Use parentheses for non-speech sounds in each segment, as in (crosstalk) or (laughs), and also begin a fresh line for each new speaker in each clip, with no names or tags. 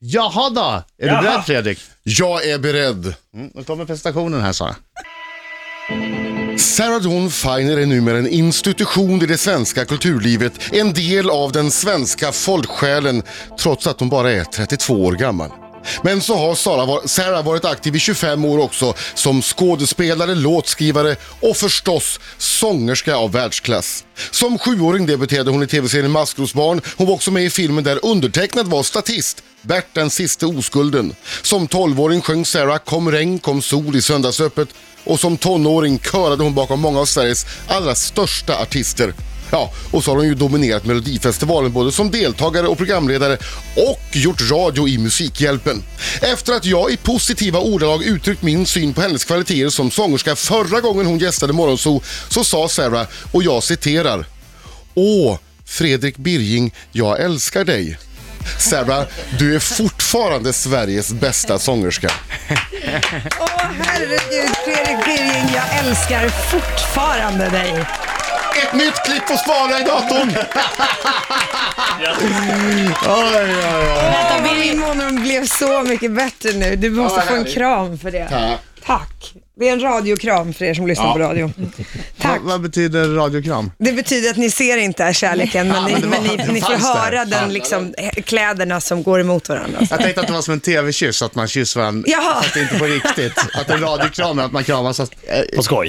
Jaha då! Är du
Jaha.
beredd Fredrik?
Jag är beredd.
Mm, nu kommer presentationen här Sara.
Sarah Dawn Finer är numera en institution i det svenska kulturlivet, en del av den svenska folksjälen, trots att hon bara är 32 år gammal. Men så har Sarah, var- Sarah varit aktiv i 25 år också som skådespelare, låtskrivare och förstås sångerska av världsklass. Som sjuåring debuterade hon i tv-serien Maskrosbarn. Hon var också med i filmen där undertecknad var statist, Bert den siste oskulden. Som 12-åring sjöng Sarah Kom regn, kom sol i Söndagsöppet och som tonåring körade hon bakom många av Sveriges allra största artister. Ja, och så har hon ju dominerat Melodifestivalen både som deltagare och programledare och gjort radio i Musikhjälpen. Efter att jag i positiva ordalag uttryckt min syn på hennes kvaliteter som sångerska förra gången hon gästade Morgonzoo så sa Sarah, och jag citerar, Åh, Fredrik Birging, jag älskar dig. Sarah, du är fortfarande Sveriges bästa sångerska.
Åh herregud Fredrik Birging, jag älskar fortfarande dig.
Ett nytt klipp på Spara i datorn!
Oj, oj, oj.
Åh, vad min morgon blev så mycket bättre nu. Du måste
Ja,
få en
härligt.
kram för det.
Tack.
Tack. Det är en radiokram för er som lyssnar på radio. Tack.
Vad, vad betyder radiokram?
Det betyder att ni ser inte kärleken, men ni,
men det
men
var-
ni,
det
ni får
fanns där.
höra den, liksom, kläderna som går emot varandra.
Jag tänkte att det var som en tv-kyss, att man kysser varandra.
Jaha.
Fast det är inte på riktigt. Att en radiokram är att man kramas. Att, eh,
På skoj.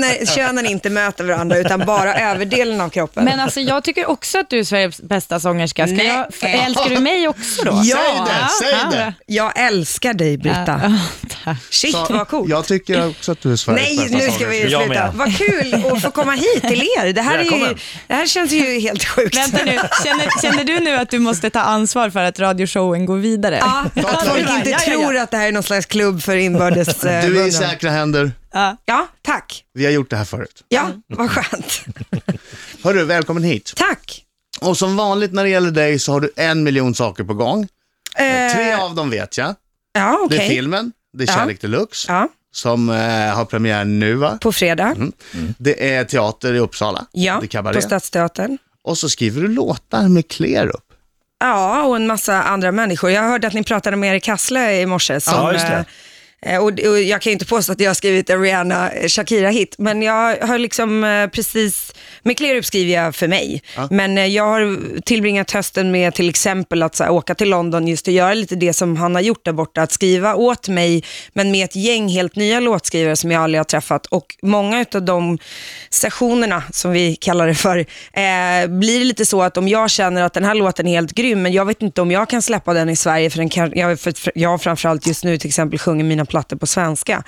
(laughs)
när könen inte möter varandra, utan bara överdelen av kroppen.
Men alltså jag tycker också att du är Sveriges bästa sångerska. Ska
Nej.
jag, f- älskar du mig också då?
Ja.
Säg det, säg det.
Jag älskar dig, Britta.
Tack.
Shit, vad coolt.
Jag tycker också att du är Sveriges
Nej,
bästa
nu ska
sångerska.
vi
Jag
sluta.
med.
Vad kul att få komma hit till er. Det här, är ju,
Välkommen.
det här känns ju helt sjukt.
Vänta nu, känner, känner du nu att du måste ta ansvar för att radioshowen går vidare?
Ja,
Ja,
att folk
det var-
inte
ja, ja, ja.
tror att det här är någon slags klubb för inbördes... eh,
Du är i
beundran.
säkra händer.
Ja, tack.
Vi har gjort det här förut.
Ja, vad skönt.
Hörru, välkommen hit.
Tack.
Och som vanligt när det gäller dig så har du en miljon saker på gång.
Eh,
Tre av dem vet jag.
ja,
Det
okej.
är filmen, det är
Ja.
Kärlek Deluxe,
Ja,
som eh, har premiär nu va?
på fredag.
Mm,
Mm. Det är teater i Uppsala,
Ja,
det är
på
Cabaret.
Stadsteatern.
Och så skriver du låtar med Klerup.
Ja, och en massa andra människor. Jag hörde att ni pratade om Erik Hassle i morse. Som,
Ja, just det.
eh, Och, och jag kan ju inte påstå att jag har skrivit en Rihanna eh, Shakira-hit, men jag har liksom eh, precis, med Klerup skriver jag för mig, men eh, jag har tillbringat hösten med till exempel att så här, åka till London just och göra lite det som han har gjort där borta, att skriva åt mig, men med ett gäng helt nya låtskrivare som jag aldrig har träffat och många av de sessionerna, som vi kallar det för, eh, blir det lite så att om jag känner att den här låten är helt grym, men jag vet inte om jag kan släppa den i Sverige, för, den kan, jag, för jag framförallt just nu till exempel sjunger mina plattor på svenska,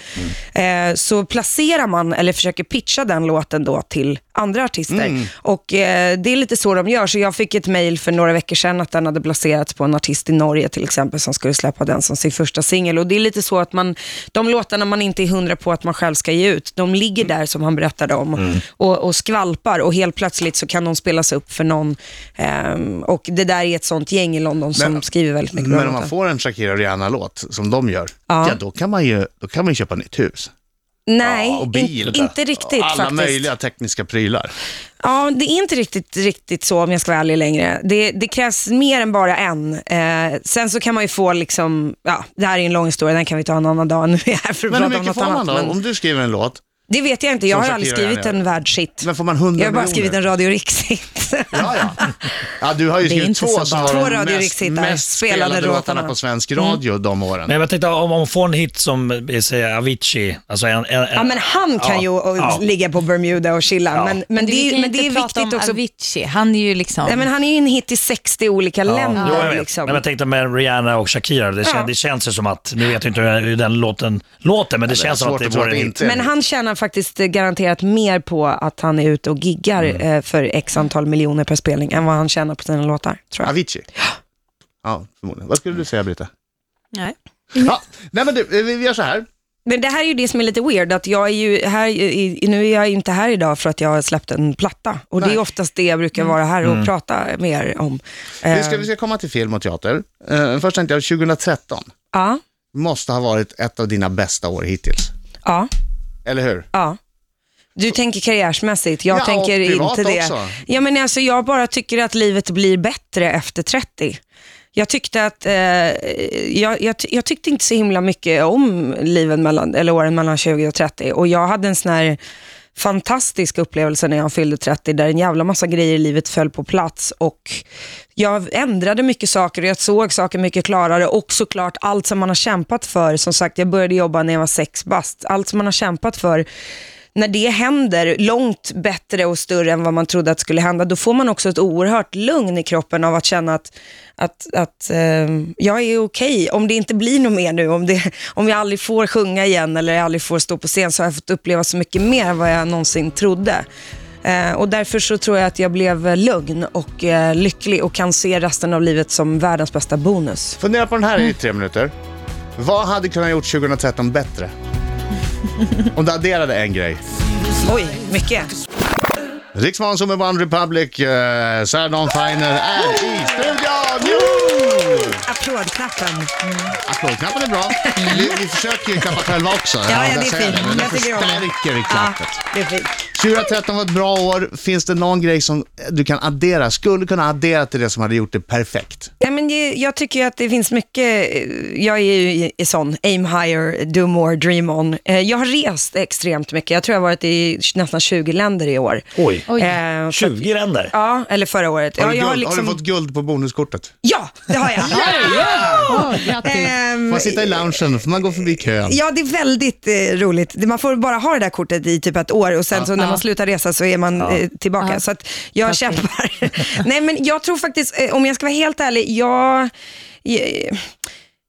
Mm.
eh, så placerar man eller försöker pitcha den låten då till andra artister.
Mm.
Och eh, det är lite så de gör, så jag fick ett mejl för några veckor sedan att den hade placerats på en artist i Norge till exempel, som skulle släppa den som sin första singel. Och det är lite så att man, de låtarna man inte är hundra på att man själv ska ge ut, de ligger
Mm.
där som han berättade om och, och skvalpar och helt plötsligt så kan de spelas upp för någon. ehm, och det där är ett sånt gäng i London som
Men-
skriver väldigt mycket bra
Men om
låtar.
man får en Shakira och Rihanna-låt, som de gör,
Ja.
ja, då kan man ju då kan man ju köpa nytt hus.
Nej,
Ja, och bil.
in, inte riktigt
och alla
faktiskt.
möjliga tekniska prylar.
Ja, det är inte riktigt, riktigt så om jag ska vara ärlig längre. Det, det krävs mer än bara en. Eh, sen så kan man ju få, liksom, ja, det här är en lång historia, den kan vi ta en annan dag. Nu är jag här för
Men
att
hur
prata om
mycket
något
får man
annat.
då?
Men
Om du skriver en låt,
det vet jag inte, jag
Som
har aldrig
Shakira
skrivit
gärna
en världshit.
men får man 100
Jag har bara
miljoner?
skrivit en
(laughs)
Radio Rikshit.
Ja, ja. ja, du
(laughs)
har ju
Det är
skrivit
inte
två
så
som
bra.
var
Två
de
Radio
mest,
Rikshittar
mest
spelade
spelade låtarna
låtarna. Mm.
på svensk radio de åren.
Men jag tänkte om om hon får en hit som eh, säger Avicii, alltså en, en, en,
Ja, men han kan
Ja,
ju och,
ja.
ligga på Bermuda och chilla,
Ja.
men, men, det,
vi
är ju-
kan
men det
inte
är
prata
viktigt
om
också.
Avicii. Han är ju liksom...
Nej, men han är ju en hit i 60 olika länder.
Jo, jag vet.
liksom.
Men jag tänkte med Rihanna och Shakira, det, kän,
Ja.
det känns ju som att, nu vet jag inte hur den låten låter, men det
är
känns som att
svårt
det
att tro
vore
att det
en hit.
inte är
Men
det.
han tjänar faktiskt eh, garanterat mer på att han är ute och giggar
Mm.
eh, för x antal miljoner per spelning än vad han tjänar på sina låtar, tror jag.
Avicii. Ja, förmodligen. Vad skulle du säga, Brita?
Nej.
Ja, nej, men du, eh, vi vi gör så här.
Men det här är ju det som är lite weird, att jag är ju här, i- nu är jag inte här idag för att jag har släppt en platta. Och det
Nej.
är oftast det jag brukar vara här och prata med er om. Eh,
Vi ska, vi ska komma till film och teater. Eh, Först tänkte jag, 2013
Ja,
måste ha varit ett av dina bästa år hittills.
ja,
Eller hur?
ja. Du tänker karriärsmässigt, jag
Ja, och
tänker
privat
inte det.
också.
Ja, men alltså, jag bara tycker att livet blir bättre efter 30. Jag tyckte att, eh, jag, jag, ty- jag tyckte inte så himla mycket om livet mellan, eller åren mellan 20 och 30 och jag hade en sån här fantastisk upplevelse när jag fyllde 30 där en jävla massa grejer i livet föll på plats och jag ändrade mycket saker och jag såg saker mycket klarare och såklart allt som man har kämpat för, som sagt jag började jobba när jag var sex bast, allt som man har kämpat för när det händer långt bättre och större än vad man trodde att skulle hända, då får man också ett oerhört lugn i kroppen av att känna att, att, att eh, jag är okej. Om det inte blir något mer nu, om, det, (laughs) om jag aldrig får sjunga igen eller jag aldrig får stå på scen, så har jag fått uppleva så mycket mer än vad jag någonsin trodde. Eh, och därför så tror jag att jag blev eh, lugn och eh, lycklig och kan se resten av livet som världens bästa bonus.
Fundera på den här i tre minuter. Vad hade kunnat gjort 2013 bättre? Om du adderade en grej.
Oj, mycket.
Rix Månsson med One Republic, eh, Sarah Dawn Finer är i studion! Jo!
Applådknappen.
Applådknappen är bra. Vi, vi försöker ju klappa själva också.
ja, det är
där säger jag
fint.
men
Jag
det
tycker om det.
förstärker vi
Ja,
klappet.
det är fint.
2013 var ett bra år. Finns det någon grej som du kan addera, skulle kunna addera till det som hade gjort det perfekt?
Nej, men det, jag tycker ju att det finns mycket, eh, jag är ju i- i sån, aim higher, do more, dream on. Eh, Jag har rest extremt mycket, jag tror jag har varit i nästan 20 länder i år.
Oj,
Oj.
Eh, för-
20 länder.
Ja, eller förra året.
Har,
ja,
du
jag liksom-
guld, har du fått guld på bonuskortet?
Ja, det
(laughs)
har jag.
Åh, grattis.
Eh,
Får
Ehm,
man sitta i loungen? Får man gå förbi kön?
Ja, det är väldigt eh, roligt. Det- Man får bara ha det där kortet i typ ett år och sen så när man slutar resa så är man eh, tillbaka. Så att jag kämpar. (laughs) Nej, men jag tror faktiskt, eh, om jag ska vara helt ärlig, jag... jag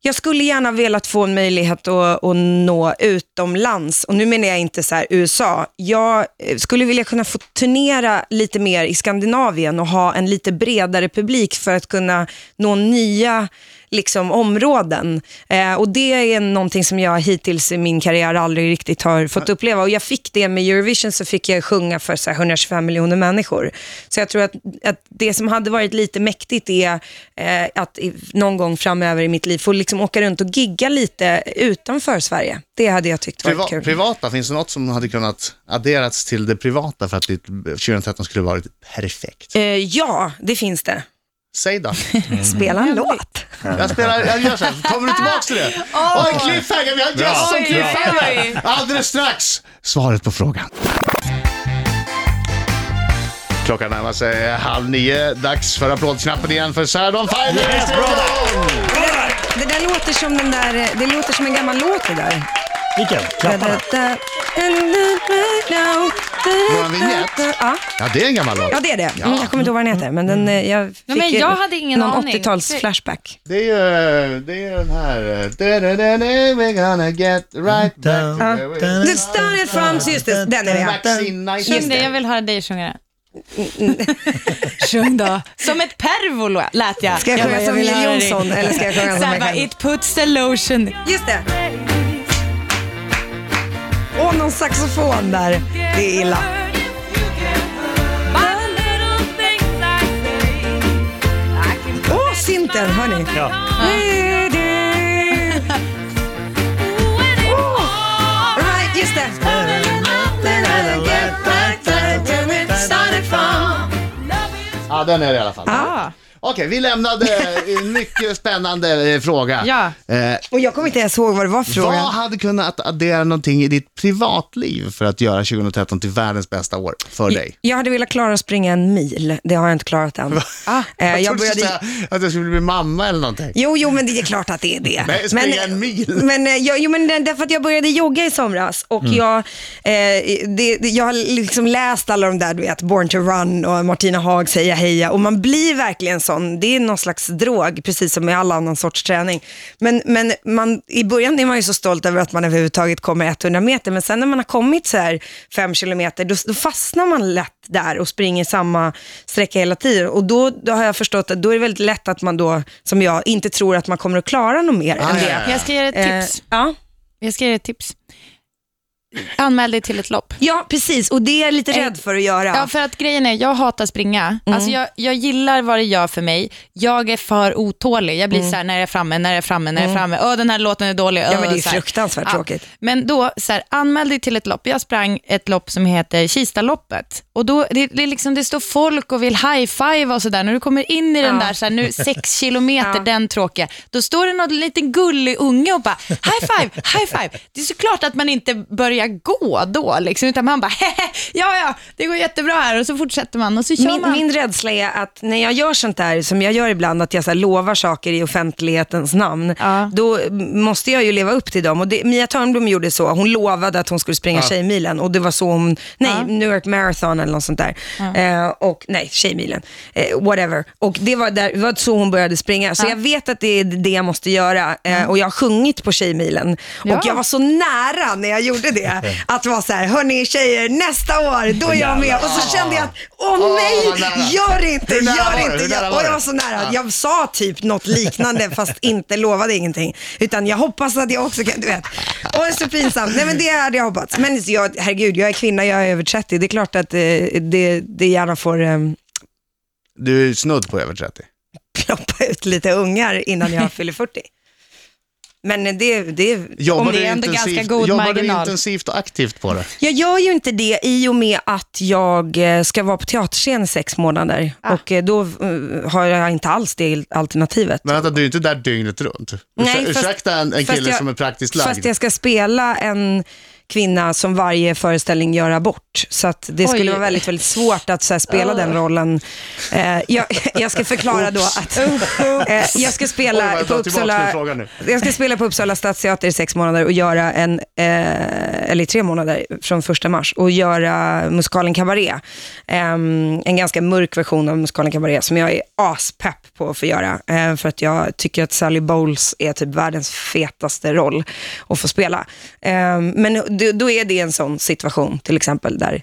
jag skulle gärna velat få en möjlighet att, att nå utomlands. Och nu menar jag inte så här USA. Jag eh, skulle vilja kunna få turnera lite mer i Skandinavien och ha en lite bredare publik för att kunna nå nya liksom, områden. Eh, och det är någonting som jag hittills i min karriär aldrig riktigt har fått uppleva. Och jag fick det med Eurovision, så fick jag sjunga för så här 125 miljoner människor. Så jag tror att, att det som hade varit lite mäktigt är eh, att i, någon gång framöver i mitt liv få liksom åka runt och gigga lite utanför Sverige. Det hade jag tyckt varit
Priva,
kul.
privata, finns det något som hade kunnat adderats till det privata för att ditt 2013 skulle varit perfekt?
Eh, ja, det finns det.
Säg då.
Spela en låt.
Jag spelar, jag gör så här. Kommer du tillbaks till det? Åh, en cliffhanger! Vi har en gäst som
Oj,
cliffhanger!
oj.
Alldeles strax svaret på frågan. Klockan närmar sig halv nio. Dags för applådknappen igen för Sarah Dawn Finer i studion!
Det där låter som, den där, eh, det låter som en gammal låt det där.
Vilken? Klapparna?
Vår vignett?
Ja.
Ja, det är en gammal låt.
Ja, det är det. Mm, jag kommer inte ihåg vad den heter, men den, eh, jag fick
men jag hade ingen
någon
aning.
80-tals-flashback.
Det är ju det är den här... eh, da-da-da-da, We're gonna get right back to where we
Du started from sisters, den är det.
Back in
Sjung det,
90s.
jag vill höra dig sjunga
(laughs)
det.
Sjung då.
Som ett pervo lå- lät jag.
Ska jag
bara,
sjunga som
vill
Jill
höra dig.
Johnson eller ska jag sjunga som
Såhär bara,
Michael?
it puts the lotion.
Just det. Åh, någon saxofon där. Det är illa. Åh, synten, hörni.
Ja.
Åh, Right, just det.
Ja, den är det i alla fall.
Ah.
Okej, vi lämnade en mycket spännande eh, fråga.
Ja.
Eh,
Och jag kommer inte ens ihåg vad det var för
vad
fråga.
hade kunnat addera någonting i ditt privatliv för att göra 2013 till världens bästa år för dig?
Jag hade velat klara att springa en mil. Det har jag inte klarat än. (laughs) Ah,
jag trodde du skulle säga att jag skulle bli mamma eller någonting.
Jo, jo, men det är klart att det är det.
Nej, springa en mil.
(laughs) Men, eh, jag, jo, men det- därför att jag började jogga i somras och jag, eh, det, det- jag har liksom läst alla de där, du vet, Born to Run och Martina Haag säger heja och man blir verkligen sån. Det är någon slags drog, precis som med all annan sorts träning. Men, men man, i början är man ju så stolt över att man överhuvudtaget kommer 100 meter, men sen när man har kommit så här 5 kilometer, då, då fastnar man lätt där och springer samma sträcka hela tiden. Och då, då har jag förstått att då är det väldigt lätt att man då, som jag, inte tror att man kommer att klara något mer
Ah,
än
ja,
det.
ja, ja.
Eh, Jag ska ge dig ett
Eh,
tips.
ja.
Jag ska ge dig ett tips. anmäl dig till ett lopp.
Ja, precis. Och det är jag lite rädd för att göra.
Ja, för att grejen är, jag hatar springa.
Mm.
Alltså jag, jag gillar vad det gör för mig. Jag är för otålig. Jag blir så här, när jag är framme, när jag är framme, när jag är framme. Öh, den här låten är dålig.
Mm. Ja, men det är
så här.
fruktansvärt tråkigt.
Men då, så här, anmäl dig till ett lopp. Jag sprang ett lopp som heter Kistaloppet. Och då, det, det, är liksom, det står folk och vill high-five och sådär. När du kommer in i den där, så här,
(laughs)
nu sex kilometer, den tråkiga. Då står det någon liten gullig unge och bara, high-five, high-five. Det är såklart att man inte börjar gå då, liksom, utan man bara, (laughs) hehe, ja, ja, det går jättebra här. Och så fortsätter man och så Alltså, kör
Min,
man.
min rädsla är att när jag gör sånt där, som jag gör ibland, att jag så här lovar saker i offentlighetens namn,
Ja.
då m- måste jag ju leva upp till dem. Och det, Mia Törnblom gjorde så, hon lovade att hon skulle springa Tjejmilen och det var så hon, nej, New York Marathon eller något sånt där. Eh, och, nej, Tjejmilen, eh, whatever. Och det var, där, det var så hon började springa. Så jag vet att det är det jag måste göra eh, och jag har sjungit på Tjejmilen.
Mm. Ja.
Och jag var så nära när jag gjorde det, att vara så här, hörni tjejer, nästa år, då är jag med. Och så kände jag att, åh
Åh,
nej,
vad nära.
gör inte,
Hur nära var
gör
du?
inte.
Hur nära
Jag,
var
och
du?
jag var så nära. Jag sa typ
(laughs)
något liknande fast inte lovade ingenting. Utan jag hoppas att jag också kan, du vet. Och det är så pinsamt. Nej men det hade jag hoppats. Men jag, herregud, jag är kvinna, jag är över 30. Det är klart att eh, det, det gärna får eh,
Du är snudd på över 30.
ploppa ut lite ungar innan jag fyller 40. Men det, det,
Jobbar,
det
du
är ändå
intensivt,
ganska god
jobbar du
marginal.
intensivt och aktivt på det?
Jag gör ju inte det i och med att jag eh, ska vara på teaterscen i sex månader.
Ah.
Och eh, då eh, har jag inte alls det alternativet.
Men vänta, du är inte där dygnet runt.
Nej,
Ursäk-
fast-
Ursäkta en, en
fast
kille
jag-
som är praktiskt
Fast
lagd.
jag ska spela en kvinna som varje föreställning gör abort. Så att det skulle
Oj.
vara väldigt, väldigt svårt att så här,
Ah.
spela den rollen. Eh, jag, (laughs) jag ska förklara då att eh, jag ska
Oj,
spela
vad jag
på
drar tillbaka min
Uppsala
fråga nu.
jag ska spela på Uppsala stadsteater i sex månader och göra en, eh, eller i tre månader från första mars, och göra musikalen Cabaret. Ehm, en ganska mörk version av musikalen Cabaret som jag är aspepp på att få göra. eh, för att jag tycker att Sally Bowles är typ världens fetaste roll att få spela. Ehm, men då, då är det en sån situation till exempel där (laughs)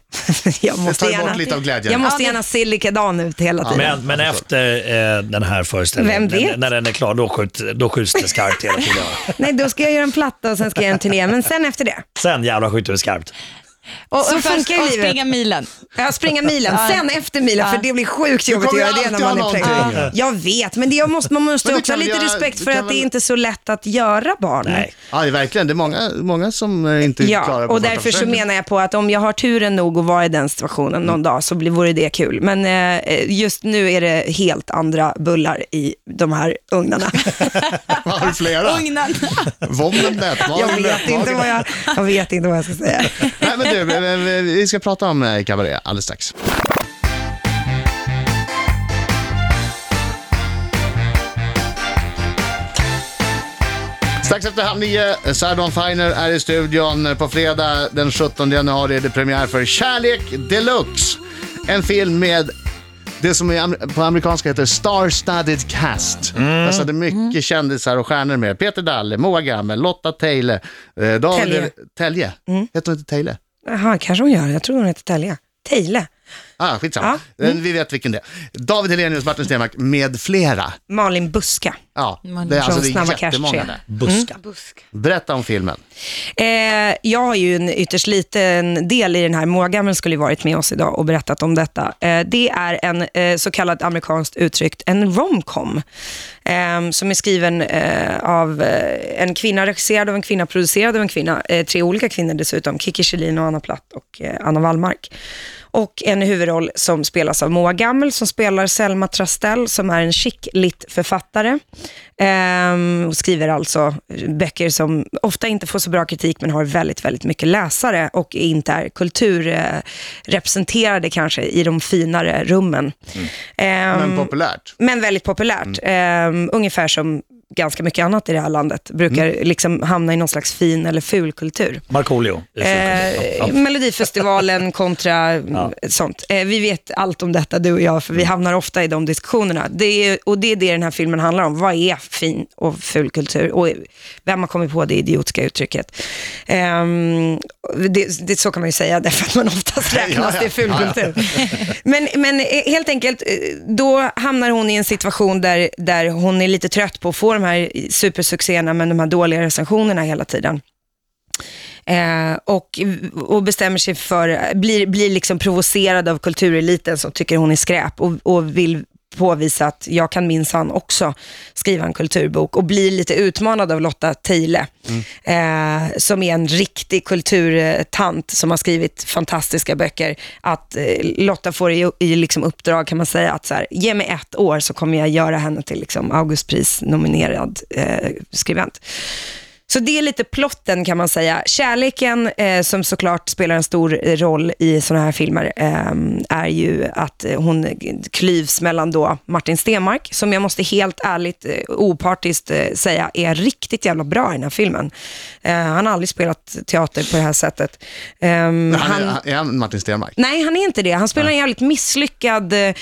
jag måste
tar bort
gärna,
lite av glädjen.
jag måste
Ja, det-
gärna se likadan ut hela tiden.
Men, men efter eh, den här föreställningen,
Vem vet?
när, när den är klar, då, skjut, då skjuts det skarpt hela tiden.
Nej, då ska jag göra en platta och sen ska jag göra en turné, men sen efter det.
Sen jävlar skjuter det skarpt.
Mm.
Och, och,
Så
först-
funkar ju
och
livet.
springa milen.
Ja, springa milen, sen efter milen, för det blir sjukt jobbigt att
kommer
göra
ju
det när
alltid
man är
ha
pregnant.
någonting.
Ja. Jag vet, men det jag måste, man måste
Men det
också ha
kan
lite
väl göra-
respekt
det
för
kan
att det
väl-
är inte är så lätt att göra barn.
Nej.
Ja, det är verkligen. Det är många, många som eh, inte
Ja,
klarar på
och
första
därför så
försöket.
menar jag på att om jag har turen nog att vara i den situationen
Mm.
någon dag så blir, vore det kul. Men eh, just nu är det helt andra bullar i de här
(laughs)
ugnarna.
Har du
(laughs)
flera?
Ugnen.
Vommen, nätmagen,
Jag vet,
nätmagen.
inte vad jag, jag vet inte vad jag ska säga.
(laughs) Nej, men du, eh, eh, vi ska prata om eh, Cabaret alldeles strax. Strax efter halv nio, Sardon Finer är i studion. På fredag den 17 januari är det premiär för Kärlek Deluxe. En film med det som i am- på amerikanska heter Star-Studded Cast.
Mm.
Alltså det är mycket kändisar och stjärnor med. Peter Dalle, Moa Gammel, Lotta Teile, eh, David
Telje. Mm.
Telje. Heter hon inte Teile?
Jaha, kanske hon gör. Jag tror hon heter Telja. Tejle.
Ah, skitsamma.
Mm.
Eh, Vi vet vilken det är. David Helenius, Martin Stenmarck med flera.
Malin Buska.
Ja,
Man-
det är, alltså,
från
det
Snabba
är
Cash
jättemånga
tre.
där.
Buska.
Berätta om filmen.
Eh, jag har ju en ytterst liten del i den här. Moa Gammel skulle ju varit med oss idag och berättat om detta. Eh, det är en eh, så kallad amerikanskt uttryckt, en romcom, eh, som är skriven eh, av eh, en kvinna, regisserad av en kvinna, producerad av en kvinna, eh, tre olika kvinnor dessutom, Kiki Kjellin och Anna Platt och eh, Anna Wallmark. Och en huvudroll som spelas av Moa Gammel som spelar Selma Trastell som är en chick-lit författare. Ehm, och skriver alltså böcker som ofta inte får så bra kritik men har väldigt, väldigt mycket läsare och inte är kulturrepresenterade kanske i de finare rummen. Ehm,
Men populärt.
men väldigt populärt. Ehm, ungefär som ganska mycket annat i det här landet brukar liksom hamna i någon slags fin eller ful kultur.
Markoolio.
Eh, Melodifestivalen kontra mm, sånt. Eh, vi vet allt om detta, du och jag, för vi hamnar ofta i de diskussionerna. Det är, och det är det den här filmen handlar om. Vad är fin och ful kultur? Och vem har kommit på det idiotiska uttrycket? Ehm, det, det, så kan man ju säga, (laughs) därför att man oftast räknas till ful kultur. Men, men eh, helt enkelt, eh, då hamnar hon i en situation där, där hon är lite trött på att få de här supersuccéerna, men de här dåliga recensionerna hela tiden. Eh, och, och bestämmer sig för, blir, blir liksom provocerad av kultureliten som tycker hon är skräp och, och vill påvisa att jag kan minsann också skriva en kulturbok och blir lite utmanad av Lotta Teile eh, som är en riktig kulturtant som har skrivit fantastiska böcker. Att eh, Lotta får i, i liksom uppdrag kan man säga att så här, ge mig ett år så kommer jag göra henne till liksom Augustpris nominerad eh, skribent. Så det är lite plotten kan man säga. Kärleken, eh, som såklart spelar en stor eh, roll i sådana här filmer, eh, är ju att eh, hon klyvs mellan då Martin Stenmark, som jag måste helt ärligt, eh, opartiskt eh, säga, är riktigt jävla bra i den här filmen. Eh, han har aldrig spelat teater på det här sättet. Ehm,
Han, är- är han Martin Stenmark?
Nej, han är inte det. Han spelar en jävligt misslyckad eh,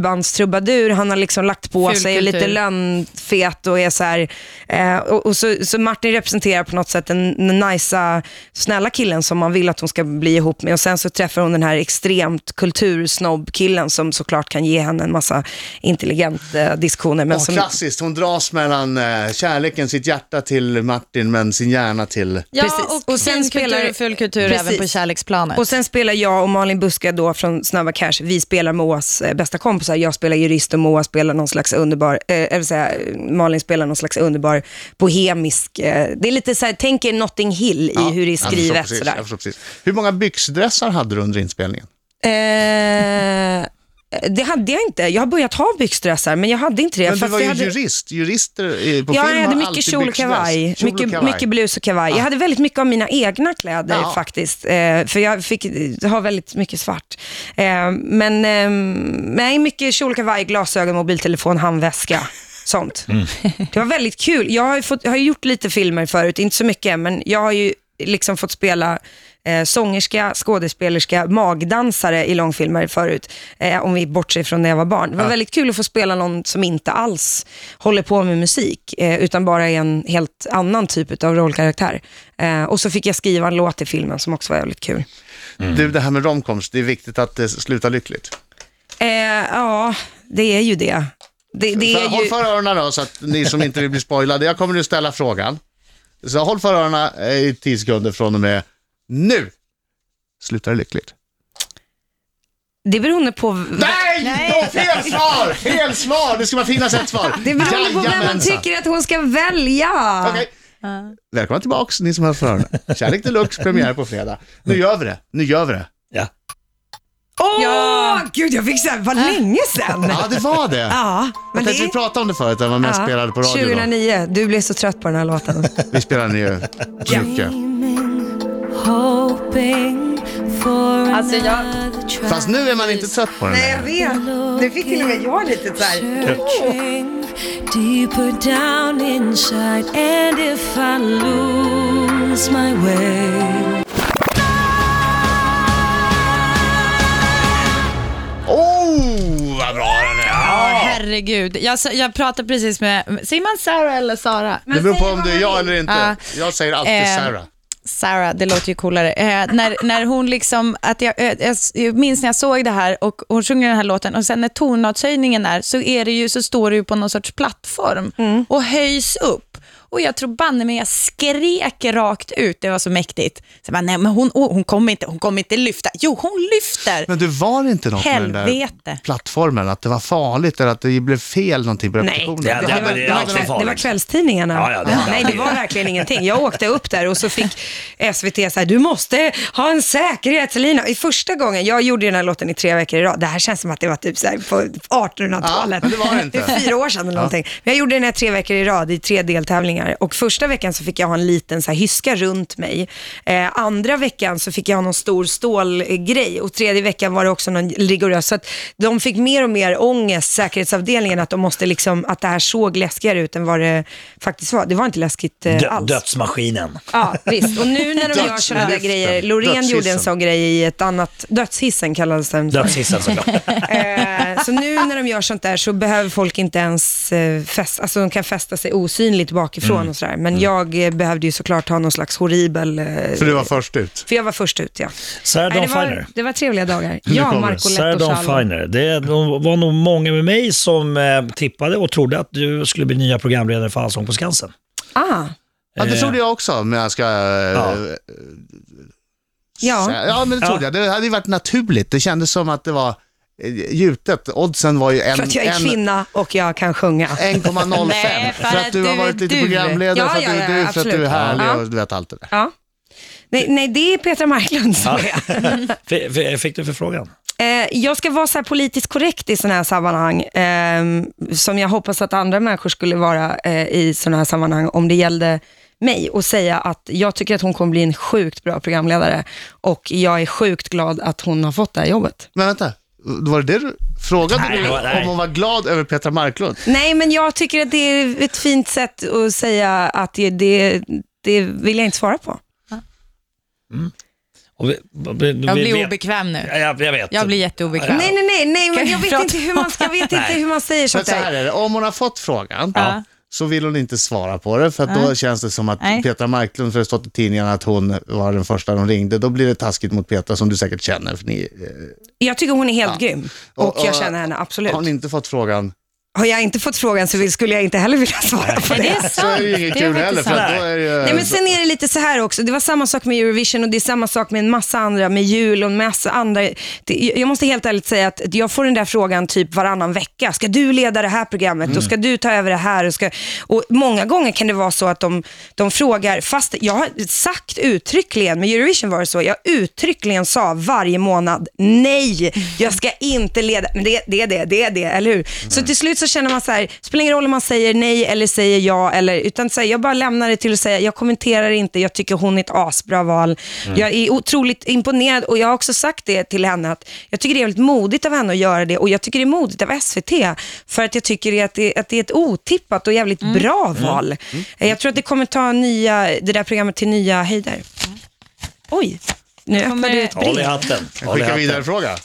coverbandstrubadur. Han har liksom lagt på
Ful
sig och lite
kultur.
lönnfet och är så här. Eh, och, och så, så Martin representerar på något sätt den den nicea, snälla killen som man vill att hon ska bli ihop med. Och sen så träffar hon den här extremt kultursnobbkillen som såklart kan ge henne en massa intelligenta eh, diskussioner. Men
Åh,
som,
klassiskt, hon dras mellan eh, kärleken, sitt hjärta till Martin, men sin hjärna till...
Ja,
Precis.
och,
Och sen
sen
spelar-
kultur och full kultur
Precis.
även på kärleksplanet.
Och sen spelar jag och Malin Buska då från Snabba Cash, vi spelar Moas eh, bästa kompisar. Jag spelar jurist och Moa spelar någon slags underbar, eh, eller så här, Malin spelar någon slags underbar bohemisk, eh, det är lite så här, tänk er Notting Hill i
Ja,
hur det är
jag förstår
skrivet.
precis,
sådär.
jag förstår precis. Hur många byxdressar hade du under inspelningen?
Eh, det hade jag inte. Jag har börjat ha byxdressar, men jag hade inte det.
Men du
fast
var ju
jag hade...
jurist. Jurister eh, på
Ja,
film
jag hade
har
mycket
alltid
kjol och
byxdress.
kavaj.
Kjol och
Mycket,
kavaj.
mycket blus och kavaj. Jag hade väldigt mycket av mina egna kläder
Ja.
faktiskt. Eh, för jag fick eh, ha väldigt mycket svart. Eh, men ehm, nej, mycket kjol och kavaj, glasögon, mobiltelefon, handväska. Sånt.
Mm.
Det var väldigt kul. Jag har, ju fått, jag har ju gjort lite filmer förut, inte så mycket, men jag har ju liksom fått spela eh, sångerska, skådespelerska, magdansare i långfilmer förut, eh, om vi bortser från när jag var barn. Det var väldigt kul att få spela någon som inte alls håller på med musik, eh, utan bara är en helt annan typ av rollkaraktär. Eh, och så fick jag skriva en låt till filmen som också var jävligt kul.
Mm. Du, det här med romcoms, det är viktigt att det slutar lyckligt.
Eh, ja, det är ju det. Det, det
För,
är
Håll
ju...
för öronen då, så att ni som inte vill bli spoilade. Jag kommer nu ställa frågan. Så håll för öronen eh, i 10 sekunder från och med nu. Slutar det lyckligt?
Det beror på...
Nej! Då, fel svar! Fel svar! Det ska bara finnas ett svar.
Det beror på vem man
Jajamensan.
tycker att hon ska välja.
Okej. Välkomna tillbaks ni som har för öronen. Kärlek Deluxe, premiär på fredag. Nu gör vi det, nu gör vi det.
Ja.
Åh,
Ja.
gud jag fick såhär, vad länge sedan.
Ja, det var det.
Ja,
jag
men det
tänkte typ vi pratade om det förut, när man mest spelade på radio. Då.
2009, du blev så trött på den här låten.
Vi spelade ju mycket.
Alltså jag,
Fast nu är man inte trött på den
(laughs) Nej, jag
längre.
vet. Nu fick till och med jag lite såhär.
Deeper down inside, and if I lose my way,
Oh, vad bra den är!
Ja,
Ja.
herregud. Jag, sa- jag pratade precis med, säger man Sarah eller Sara?
Det beror på om det är jag eller inte.
Ja.
Jag säger alltid
Eh,
Sarah.
Sarah, det låter ju coolare. Eh, när, när hon liksom, att jag, eh, jag, jag minns när jag såg det här och hon sjunger den här låten och sen när tonartshöjningen är så, är det ju, så står det ju på någon sorts plattform
Mm.
och höjs upp. Och jag tror banne mig jag skrek rakt ut, det var så mäktigt. Så jag bara, nej men hon, åh, hon kommer inte, hon kommer inte lyfta. Jo, hon lyfter.
Men du var det inte något med den där
Helvete.
plattformen, att det var farligt eller att det blev fel någonting på repetitionen?
det- det-
hade-
det-
hade
alltid
någon-
farligt.
Det var kvällstidningarna.
Ja, ja, det hade
Nej, det
alltid.
var verkligen ingenting. Jag åkte upp där och så fick SVT så här, du måste ha en säkerhetslina. I första gången, jag gjorde ju den här låten i tre veckor i rad. Det här känns som att det var typ så här på 1800-talet.
Ja, men det var det inte.
är fyra år sedan eller någonting. Men jag gjorde den här tre veckor i rad i tre deltävlingar. Och första veckan så fick jag ha en liten så här, hyska runt mig. Eh, andra veckan så fick jag ha någon stor stålgrej. Och tredje veckan var det också någon rigorös. Så att de fick mer och mer ångest, säkerhetsavdelningen, att, de måste liksom, att det här såg läskigare ut än vad det faktiskt var. Det var inte läskigt eh,
Dö-
alls.
dödsmaskinen.
Ja, visst. Och nu när de gör sådana där
Dödslyften.
grejer. Loreen gjorde en sån grej i ett annat, dödshissen kallades den.
Dödshissen såklart.
Eh, så nu när de gör sånt där så behöver folk inte ens eh, fästa, alltså de kan fästa sig osynligt bakifrån och sådär. Men jag eh, behövde ju såklart ha någon slags horribel... eh,
För du var först ut.
för jag var först ut ja.
Sarah
Nej,
Dawn
det, var,
Finer.
det var trevliga dagar.
Nu
Ja,
kommer
Marco
Sarah
Letto
Dawn
Salo.
Finer. Det var nog många med mig som eh, tippade och trodde att du skulle bli nya programledare för Allsång på Skansen.
Ah,
Ja, det
Eh,
trodde jag också, men jag ska...
Ja.
Ja,
Ja.
ja men det trodde
Ja.
jag. Det hade ju varit naturligt. Det kändes som att det var eh, gjutet. Oddsen var ju en,
För att jag är
en-
kvinna och jag kan sjunga.
Eh. 1,05.
(laughs)
Nej,
för, att du har
är
varit lite
du.
programledare,
Ja,
för att du
ja,
är
ja,
du, för att du är
absolut.
härlig
Ja.
och du vet allt det där.
Ja. Nej, nej, det är Petra Marklund som är.
(laughs) F- f- fick du förfrågan?
Eh, jag ska vara så här politiskt korrekt i sådana här sammanhang, ehm, som jag hoppas att andra människor skulle vara eh, i sådana här sammanhang, om det gällde mig, och säga att jag tycker att hon kommer bli en sjukt bra programledare och jag är sjukt glad att hon har fått det här jobbet.
Men vänta, var det det du frågade
Nej,
du
det var- nej.
om hon var glad över Petra Marklund?
Nej, men jag tycker att det är ett fint sätt att säga att det, det, det vill jag inte svara på.
Och vi, vi,
Jag
vi
blir
vet-
obekväm nu.
Ja, Jag, jag vet.
Jag blir jätteobekväm.
Nej, nej, nej, nej men
Kan
jag
vi
vet
prata
inte hur man, ska, jag vet inte hur man säger
Men
sånt
så här
där.
är det, om hon har fått frågan
Ja.
så vill hon inte svara på det för att då känns det som att
Nej.
Petra Marklund, för det har stått i tidningen att hon var den första de ringde, då blir det taskigt mot Petra som du säkert känner. För ni, eh,
Jag tycker hon är helt grym och,
Och-
jag
och-
känner henne absolut.
har ni inte fått frågan
Har jag inte fått frågan så vill- skulle jag inte heller vilja svara på
Men det
det.
är sant.
så är det ju inget
Det är
kul
faktiskt
heller för
sant.
att då är det ju...
Nej, men sen är det lite så här också, det var samma sak med Eurovision och det är samma sak med en massa andra, med jul och en massa andra. Det, jag måste helt ärligt säga att jag får den där frågan typ varannan vecka. Ska du leda det här programmet och ska du ta över det här? Och, ska, och många gånger kan det vara så att de, de frågar, fast jag har sagt uttryckligen, med Eurovision var det så, jag uttryckligen sa varje månad, nej, jag ska inte leda, men det, det är det, det är det, eller hur? Så till slut så känner man så här, spelar ingen roll om man säger nej eller säger ja, eller, utan så här, jag bara lämnar det till att säga, jag kommenterar inte, jag tycker hon är ett asbra val. Jag är otroligt imponerad och jag har också sagt det till henne, att jag tycker det är väldigt modigt av henne att göra det och jag tycker det är modigt av SVT, för att jag tycker att det, att det är ett otippat och jävligt bra val. Jag tror att det kommer ta nya, det där programmet till nya höjder. Oj, Mm. nu öppnade du ett
Håll i
brev.
hatten. Håll i
Skicka
hatten.
vidare fråga.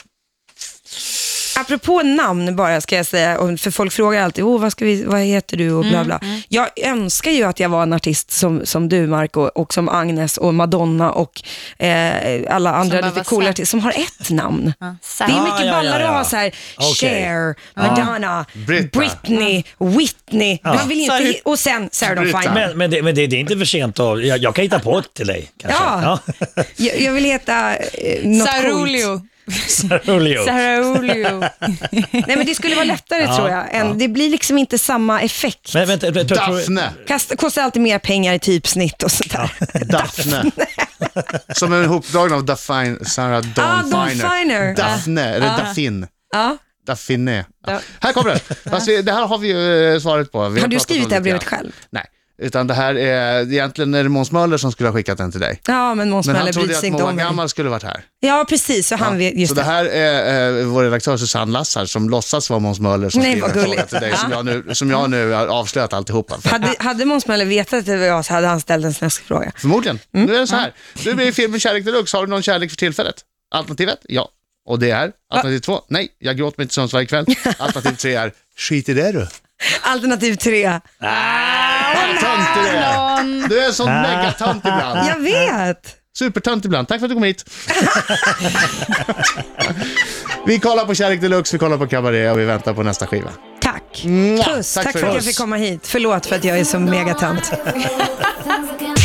Apropå namn bara ska jag säga, och för folk frågar alltid, oh, vad, ska vi, vad heter du och bla
Mm,
bla. Jag önskar ju att jag var en artist som, som du Marco och som Agnes och Madonna och eh, alla andra
bara
lite
var
coola
Sam.
artister som har ett namn.
Så
Det är
här.
Ah,
mycket
ja, ja,
ballare
ja.
att ha så här,
Okej.
Cher, Madonna,
Britta.
Britney, Whitney. Man vill inte,
Sorry.
och sen Sarah Dawn
Britta.
Finer.
Men, men, det, men det, det är inte för sent att... Jag, jag kan hitta på ett till dig kanske.
Ja.
(laughs)
Jag, jag vill heta eh, något coolt.
Sarulio. (laughs)
Julio.
Sarulio.
(laughs) Nej, men det skulle vara lättare tror jag. Än, Det blir liksom inte samma effekt.
Men vänta, vänta, jag tror-
Daphne.
Kasta, kostar alltid mer pengar i typsnitt och sånt där.
Daphne. Som en hopdragen av Daphine, Sarah Dawn
Ah, Dawn
Finer.
Finer.
Daphne, eller Daphine.
Ja.
Daphine. Ja. Här kommer
(laughs)
det. Fast vi, det här har vi ju eh, svaret på. Vi
Har du
pratat om
skrivit det här
lite grann.
brevet själv?
Nej, utan det här är, egentligen är det Måns Möller som skulle ha skickat den till dig.
Ja, men Måns
Men han
Möller
trodde
bryr
ju att
sig inte
Moa
om mig.
Gammal skulle varit här.
Ja, precis. Så han vet,
så
just
det
det.
här är eh, vår redaktör Susanne Lassar som låtsas vara Måns Möller som
Nej,
skriver
vad
en fråga
gulligt.
till dig som jag nu, som jag nu har avslöjat alltihopa. För,
Hade, hade Måns Möller vetat att det var jag så hade han ställt en snaskfråga.
förmodligen. Nu
Mm.
är det så här. Du är med i filmen Kärlek Deluxe. Har du någon kärlek för tillfället? Alternativet? Ja. Och det är? Alternativ två? Nej, jag gråter mig inte sömns varje kväll.
(laughs)
Alternativ tre är? Skit i det du.
Alternativ tre.
Tönt du är. Du är en sån megatönt ibland.
Jag vet.
Supertönt ibland. Tack för att du kom hit. vi kollar på Kärlek Deluxe, vi kollar på Cabaret och vi väntar på nästa skiva.
Tack.
Mua.
Puss.
Tack
Tack
för
för att jag
oss.
fick komma hit. Förlåt för att jag är så megatönt.
Something's gonna